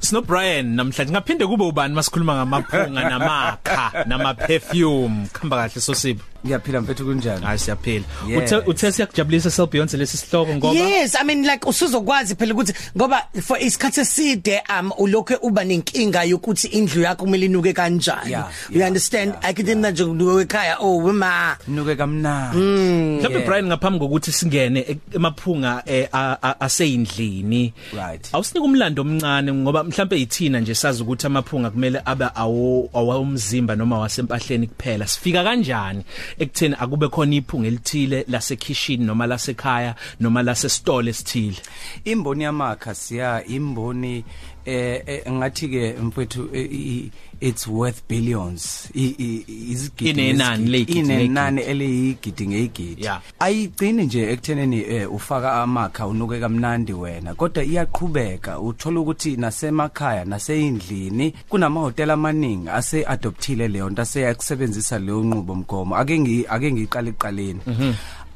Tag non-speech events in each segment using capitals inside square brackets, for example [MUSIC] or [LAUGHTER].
Sino Brian namhlanje ngaphinde kube ubani masikhuluma ngamaphunga namakha nama perfume khamba kahle so sipho Ngiyaphila mfethu kunjani? hayi siyaphila Yes. uthe uthe siyakujabulisa sel Beyonce lesi sihloko ngoba Yes, I mean like usuzokwazi phela ukuthi ngoba for isikhathi eside um ulokhe uba nenkinga yokuthi indlu yakho kumele inuke kanjani. Yeah, you yeah, understand? Akidina nje kuwe ekhaya oh wema. Nuke kamnandi. mhlawumbe yeah. Brian ngaphambi kokuthi singene e- emaphunga eh, a- a- aseyindlini Right. awusinike umlando omncane ngoba mhlawumbe ithina nje sazi ukuthi amaphunga kumele abe awo awomzimba noma wasempahleni kuphela sifika kanjani ekutheni akube khona iphunga elithile lasekitchen noma lasekhaya noma lasestole esithile Imboni yamakha siya imboni eh eh, ngathi ke mfethu eh, i- it's worth billions. I- i- Izigidi Inenani ngezigidi. leyigidi inenani eliyigidi ngeyigidi. Yeah. Ayigcini nje ekutheneni eh, ufaka amakha unuke kamnandi wena kodwa iyaqhubeka uthola ukuthi nasemakhaya naseyindlini kunamahotela amaningi ase adoptile leyo nto aseyakusebenzisa leyo nqubo mgomo ake ngi ake ngiqale eqaleni.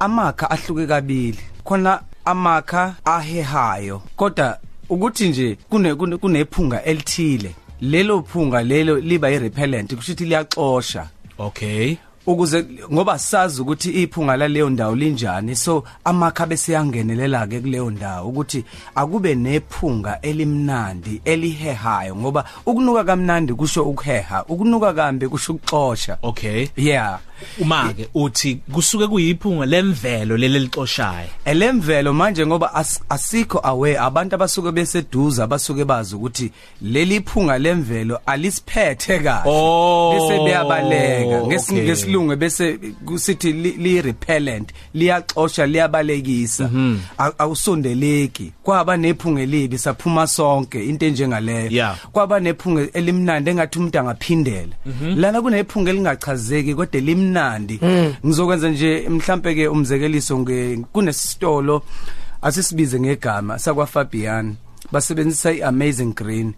Amakha ahluke kabili. Khona amakha ahehayo kodwa ukuthi nje kune kune- kunephunga elithile lelo phunga lelo liba irepellent kusho ukuthi liyaxosha okay ukuze ngoba sazi ukuthi iphunga laleyo ndawo linjani so amakha bese yangenelela ke kuleyo ndawo ukuthi akube nephunga elimnandi elihehayo ngoba ukunuka kamnandi kusho ukuheha ukunuka kambe kusho ukuxosha okay yeah uma ke uthi kusuke kuyiphunga lemvelo leli lixoshaye elemvelo manje ngoba as- asikho aware abantu abasuke beseduza abasuke bazi ukuthi leli phunga lemvelo alisiphethe kahle Oh, bese beyabaleka Ngesi- okay. ngesilungu bese kusithi li- liyi-repellent liyaxosha liyabalekisa Mhm. A- awusondeleki kwaba nephunga elibi saphuma sonke into enjengaleyo Yeah. kwaba nephunga elimnandi engathi umuntu angaphindela lana kunephunga elingachazeki kodwa limnandi ngizokwenza nje mhlambe ke umzekeliso nge kunesitolo asisibize ngegama sakwa Fabian basebenzisa iAmazing Green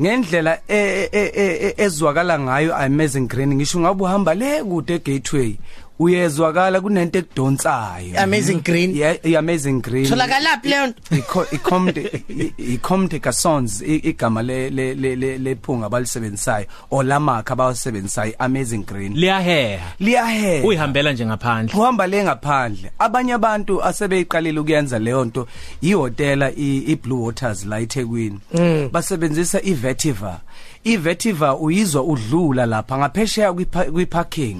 ngendlela e- e- e- e- ezwakala ngayo Amazing Green ngisho ngabe uhamba le kude eGateway uyezwakala kunento ekudonsayo Amazing Green. yeah iAmazing Green Tholakalaphi leyo nto? Iko- iComte iComte Casons igama le le le- le- lephunga abalisebenzisayo olamakha abawusebenzisayo amazing green liyaheha liyahe uyihambela nje ngaphandle uhamba le ngaphandle abanye abantu asebeyiqalile ukuyenza leyo nto ihotela i i Blue Waters la eThekwini basebenzisa i Vetiva i Vetiva uyizwa udlula lapha ngaphesheya kwi parking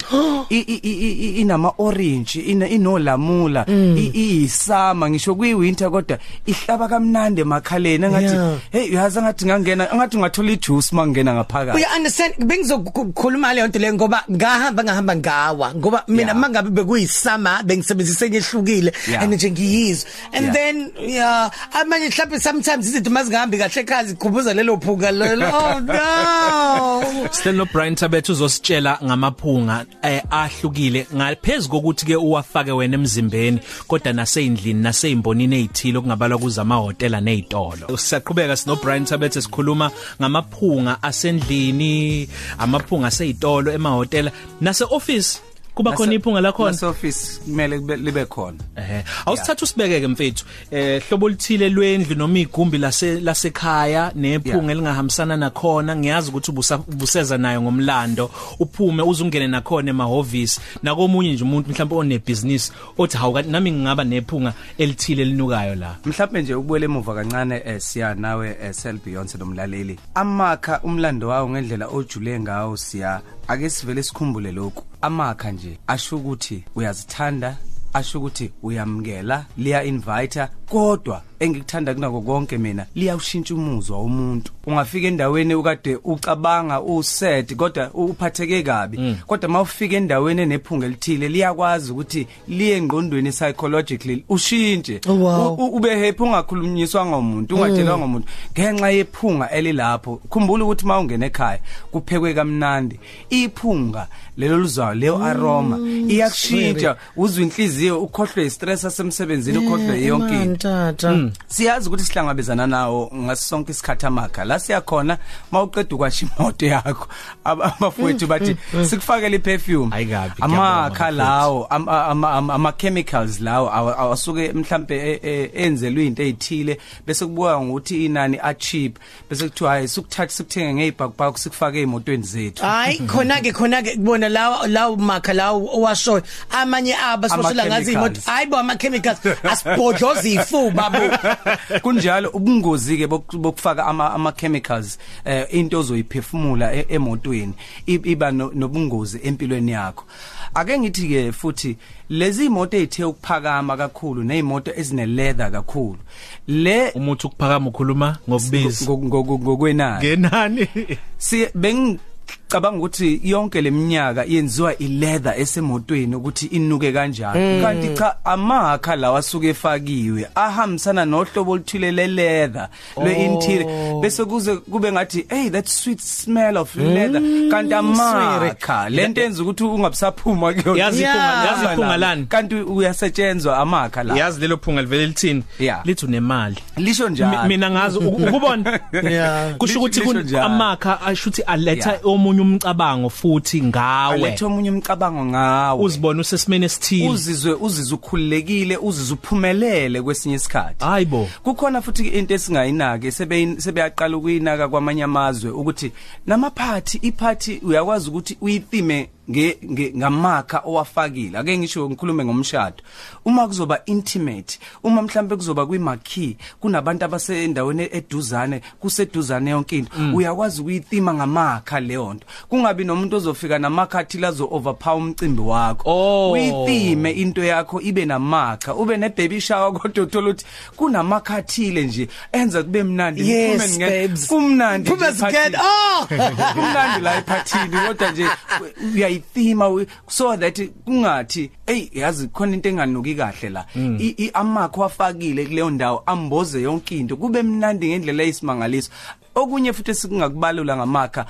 inama orange ina- inolamula i- iyisama ngisho kwi winter kodwa ihlaba kamnandi emakhaleni Yeah. ngathi hey uyazi ngathi ngangena ngathi ngathola ijuice mangena ngaphakathi You understand bengizokukhuluma le nto le ngoba ngahamba ngahamba ngawa ngoba mina Yeah. mangabe bekuyisama bengisebenzise enyehlukile Yeah. and nje ngiyizwa Yeah. and then yeah amanye mhlawumbe sometimes izinto mazingahambi kahle kazi kukhumbuza lelo phunga lelo oh no Sten no Brian Tabethu uzositshela ngamaphunga eh, ahlukile ngaphezulu kokuthi ke uwafake wena emzimbeni kodwa naseyindlini naseyimbonini ezithile okungabalwa kuzama hotela nezitolo sisaqhubeka sino Brian Tabethu sikhuluma ngamaphunga asendlini amaphunga asezitolo emahotela nase office kuba khona iphunga lakhona office kumele kube- libe khona ehe awusithatha usibekeke mfethu eh hlobo lithile lwendlu noma igumbi lase lasekhaya nephunga Yeah. elingahambisana nakhona ngiyazi ukuthi ubusa- ubuseza nayo ngomlando uphume uzungene nakhona emahhovisi nakomunye nje umuntu mhlawumbe onebusiness othi hawu kanti nami ngingaba nephunga elithile elinukayo la mhlawumbe nje ukubuyela emuva kancane eh, siya nawe eh, sel beyonce nomlaleli amakha umlando wawo ngendlela ojule ngawo siya ake sivele sikhumbule lokhu amakha nje asho ukuthi uyazithanda asho ukuthi uyamukela liya invite kodwa engikuthanda kunako konke mina liyawushintsha umuzwa womuntu ungafika endaweni ukade ucabanga used kodwa uphatheke kabi Mm. kodwa mawufika endaweni enephunga elithile liyakwazi ukuthi liye engqondweni psychologically ushintshe Oh, wow. U- u- ube happy ungakhulunyiswa ngomuntu ungatshelwa ngomuntu ngenxa yephunga elilapho khumbula ukuthi mawungena ekhaya kuphekwe kamnandi iphunga lelo luzwayo leyo Eh, Eh, aroma iyakushintsha uzwe inhliziyo ukhohlwe istress asemsebenzini ukhohlwe yonke into Hmm. mtata siyazi ukuthi sihlangabezana nawo ngaso sonke isikhathi amaga la siyakhona mawuqeda ukwasha imoto yakho aba- [LAUGHS] abafowethu bathi sikufakele iperfume Hayi kabi, ngiyabonga, amakha lawo am- am- am- ama-chemicals lawo awa- awasuke mhlampe e- enzelwe into ey'thile bese kubuka ngokuthi inani a-cheap bese kuthiwa hhayi sikuthathe sikuthenga ngey'bhakubhaku sikufake ey'motweni zethu hayi khona ke khona ke kubona lawo lawo makha lawo owashoyo amanye aba siboshela ngazi imoto Ama-chemicals. hayi bo ama chemicals asibhodloza ifuba [LAUGHS] bo kunjalo ubungozi-ke bok- bokufaka ama- ama-chemicals um into ozoyiphefumula e- emotweni i- iba no- nobungozi empilweni yakho ake ngithi-ke futhi lezi moto ey'the ukuphakama kakhulu ney'moto ezine-leather kakhulu le umuthi ukuphakama ukhuluma ngokubiza ngo- ngo- ngo- ngokwenani ngenani si bengicabanga ukuthi yonke leminyaka yenziwa ileather esemotweni ukuthi inuke Mm. kanjani kanti cha amakha lawa asuke efakiwe ahambisana nohlobo oluthile leleather Oh. lweinterior bese kuze kube ngathi hey that sweet smell of Mm. leather kanti amakha lento yenza ukuthi ungabisaphuma kuyo Yazi iphunga- Yeah. yazi iphunga lani? kanti uyasetshenzwa amakha la yazi lelo phunga livele lithini Yeah. lithi unemali lisho Mi- njalo mina ngazi u- [LAUGHS] ukubona Yeah. kusho ukuthi Lisho- lisho kun- njalo. amakha asho ukuthi aletha Yeah. omunye umcabango futhi ngawe alethe omunye umcabango ngawo uzibona usesimene esithile uzizwe uzizwe ukhululekile uzizwe uphumelele kwesinye isikhathi hayibo kukhona futhi into esingayinaki sebeyi- sebeyaqala ukuyinaka kwamanye amazwe ukuthi namaphathi iphathi uyakwazi ukuthi uyithime nge- nge- ngamakha owafakile ake ngisho ngikhulume ngomshado uma kuzoba intimate uma mhlambe kuzoba kwimakhi kunabantu abasendaweni eduzane kuseduzane yonke into uyakwazi ukuyithima ngamakha leyo nto kungabi nomuntu ozofika namakha athile azo overpower umcimbi wakho Oh. uyithime into yakho ibe namakha ube nebaby shower kodwa uthola ukuthi kunamakhathile nje enza kube mnandi Yes, Kuphume nge- babes. kumnandi Kuphume nje singena- ephathini. Oh! [LAUGHS] kumnandi la ephathini kodwa nje uyayithima we- so that kungathi eyi yazi khona into enganuki kahle la I- i- amakho wafakile kuleyo ndawo amboze yonke into kube mnandi ngendlela eyisimangaliso okunye futhi esingakubalula ngamakha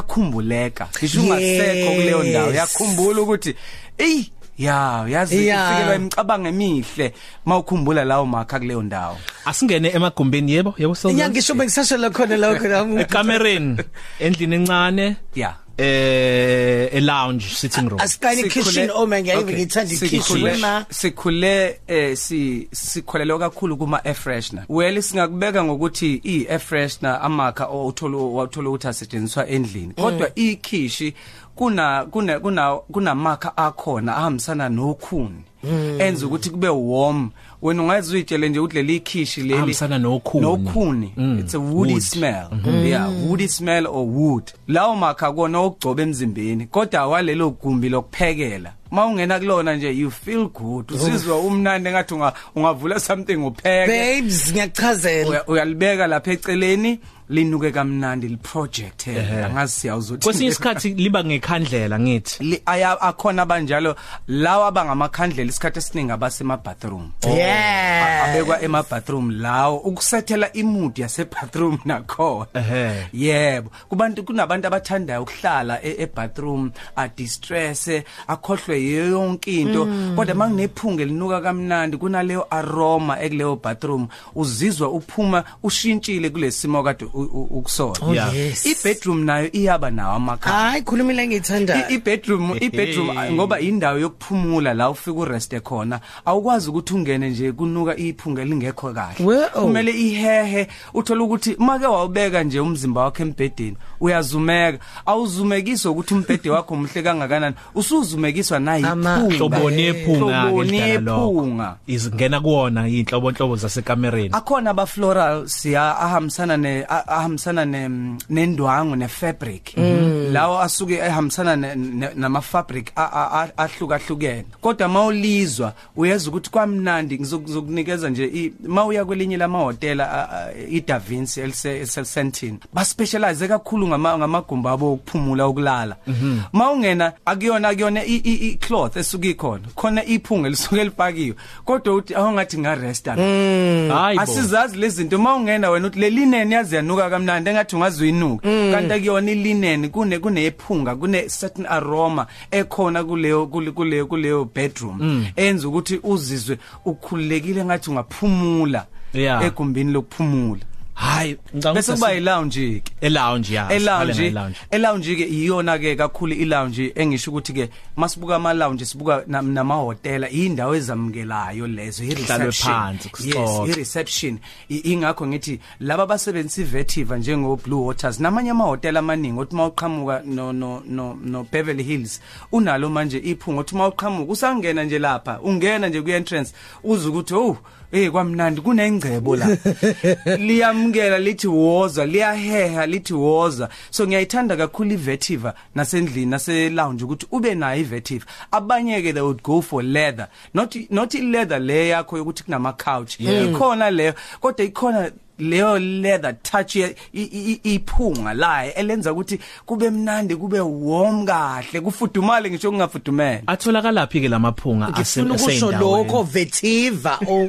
ayakhumbuleka ngisho ungasekho kuleyo ndawo Yes. yakhumbula ukuthi eyi ya yazi Ya. ufikelwa imicabango emihle mawukhumbula lawo makha kuleyo ndawo asingene emagumbini yebo yebo inyanga sawubona ngisho bengisashela khona lokho lami [LAUGHS] ekamereni endlini encane ya eh e lounge sitting room asiqale ikitchen Sikhule- oma ngiyayive Okay. ngithanda Sikhule- ikitchen ma sikhule eh si sikholelwa kakhulu kuma air freshener well singakubeka ngokuthi i air freshener amakha othola wathola ukuthi asetshenziswa endlini kodwa ikhishi kuna kuna kuna kunamakha akhona ahambisana nokhuni enza ukuthi kube warm wena ungaze uyitshele nje ukuthi leli ikhishi leli Ahambisana nokhuni. nokhuni it's a woody Mm. Wood. Mm-hmm. wood. smell yeah woody smell or wood lawo makha kona okugcoba emzimbeni kodwa walelo gumbi lokuphekela mawungena kulona nje you feel good uzizwa umnandi ngathi unga- ungavula something upheke babes ngiyakuchazela Uya- uyalibeka lapha eceleni linuke kamnandi liproject angazi siyawuzothi kwesinye isikhathi liba ngekhandlela ngithi [LAUGHS] li- aya- akhona abanjalo lawa abangamakhandlela isikhathi esiningi abasemabathroom Oh. A- yeah abekwa emabathroom lawo ukusethela imood yasebathroom nakhona Ehhe. yebo kubantu kunabantu abathandayo ukuhlala e- ebathroom adistress akhohlwe yiyo yonke into Mm. kodwa manginephunga elinuka kamnandi kunaleyo aroma ekuleyo bathroom uzizwa uphuma ushintshile kulesimo kade u- u- ukusona Oh, Yeah. yes. ibedroom nayo iyaba nawo amakhala hayi khulumile I- engiyithandayo ibedroom ibedroom Ehe. ah, ngoba indawo yokuphumula la ufika ureste khona awukwazi ukuthi ungene nje kunuka iphunga lingekho kahle Well. oh. kumele ihehe uthola ukuthi make wawubeka nje umzimba wakho embhedeni uyazumeka awuzumekiswa ukuthi umbhede wakho muhle kangakanani usuzumekiswa Ama- nayiphunga hlobone ephunga Hloboni ngendlela yephunga. lokho izingena kuona inhlobo nhlobo zasekamereni akhona ama floral siya ahambisana ne a- ahambisana ne nendwangu ne fabric lawo asuke ehambisana ne- ne- nama fabric a- a- a- ahlukahlukene kodwa mawulizwa uyeza ukuthi kwamnandi ngizo- ngizokunikeza nje i- mawuya kwelinye lamahotela a- a- i Da Vinci elise- esesentin ba specialize kakhulu kakhulu ngama ngamagumbi abo okuphumula okulala mawungena akuyona akuyona i- i i- cloth esuka ikhona khona iphunga lisuke lipakiwe kodwa uthi awungathi nga rest Hayi bo. asizazi lezinto mawungena wena uthi le linen yazi yanuka kamnandi engathi ungazuyinuka Mm. kanti akuyona ilinen kune kunephunga kune certain aroma ekhona kuleyo kule- kuleyo kuleyo Mm. bedroom enza ukuthi uzizwe ukhululekile engathi ungaphumula Yeah. egumbini lokuphumula Hayi, bese kuba yilounge ke elounge yazi. elounge Siqale na-lounge. elounge ke iyona ke kakhulu ilounge engisho ukuthi ke masibuka ama lounge sibuka na- namahotela indawo ezamukelayo lezo i Kuhlalwe reception phansi, kuxoxe. yes i reception I- ingakho ngithi laba basebenzisa ivetiva njengo Blue Waters namanye amahotela amaningi othi mawuqhamuka no no no no Beverly Hills unalo manje iphunga othi mawuqhamuka usangena nje lapha ungena nje ku entrance uza ukuthi oh Eh kwamnandi kunengcebo la. Liyamkela lithi woza, liyaheha lithi woza. So ngiyayithanda kakhulu ivetiva nasendlini nase lounge ukuthi ube nayo ivetiva. Abanye ke they would go for leather. Not not i leather le yakho yokuthi kunama couch. Ikhona leyo kodwa ikhona leyo leather touch ye- i- i- i- iphunga laye elenza ukuthi kube mnandi kube warm kahle kufudumale ngisho kungafudumele. Atholakala phi ke lamaphunga ngifuna ukusho lokho oh. vetiva o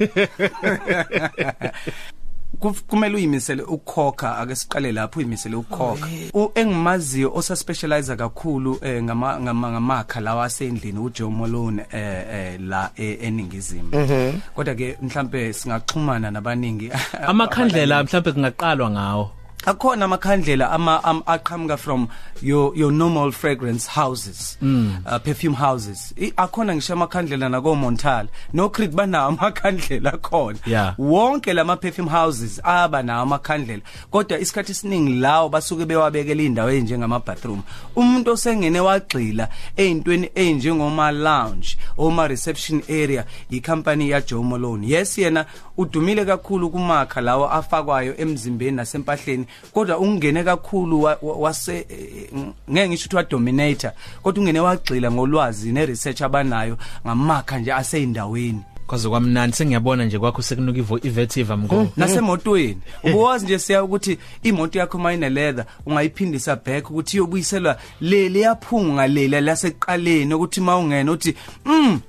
Kuf- kumele uyimisele ukukhokha ake siqale lapho uyimisele Oh, ukukhokha U- engimaziyo osa specialize kakhulu eh, ngama ngama- ngamakha lawa asendlini uJoe Malone eh eh, la e- eningizimu Mhm. kodwa ke mhlambe singaxhumana nabaningi [LAUGHS] Amakhandlela mhlawumbe kungaqalwa ngawo. akhona amakhandlela ama am- aqhamuka from your your normal fragrance houses Mm. uh, perfume houses I- akhona ngisho amakhandlela nako Montal no Creed banawo amakhandlela khona Yeah. wonke lama perfume houses aba nawo amakhandlela kodwa isikhathi esiningi lawo basuke bewabekela indawo enjengama bathroom umuntu osengene wagxila eintweni enjengoma lounge oma reception area icompany ya Joe Malone yes yena udumile kakhulu kumakha lawo afakwayo emzimbeni nasempahleni kodwa ungene kakhulu wa- wa- wase eh, eh, ngeke ngisho ukuthi wa dominator kodwa ungene wagxila ngolwazi ne research abanayo ngamakha nje aseyindaweni Kwaze kwamnandi sengiyabona nje kwakho sekunuka ivo ivetiva mngoko. Hmm. [LAUGHS] nasemotweni Eh. ubuwazi nje siya ukuthi imoto yakho mayine leather ungayiphindisa back ukuthi iyobuyiselwa le liyaphunga lela laseqaleni ukuthi mawungena uthi mm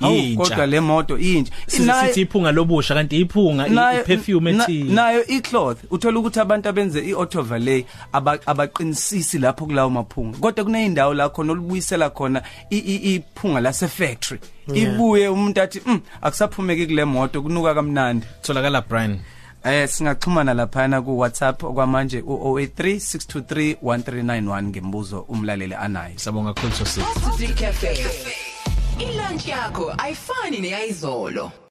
hawu, Yintsha. kodwa le moto intsha Inayo- Sithi iphunga lobusha kanti iphunga i- i-perfume na- ethi. nayo icloth uthola ukuthi abantu abenze iauto valet aba- abaqinisisi lapho kulawo maphunga kodwa kuneyindawo la khona olubuyisela khona i- i- iphunga lase factory ibuye umuntu athi mm akusaphumeki kule moto kunuka kamnandi Tholakala Brian. Eh singaxhumana laphana ku WhatsApp okwamanje u083 623 1391 ngembuzo umlaleli anayo. Sabonga kakhulu sosisi. Cafe. Ilunch yakho ayifani neyayizolo.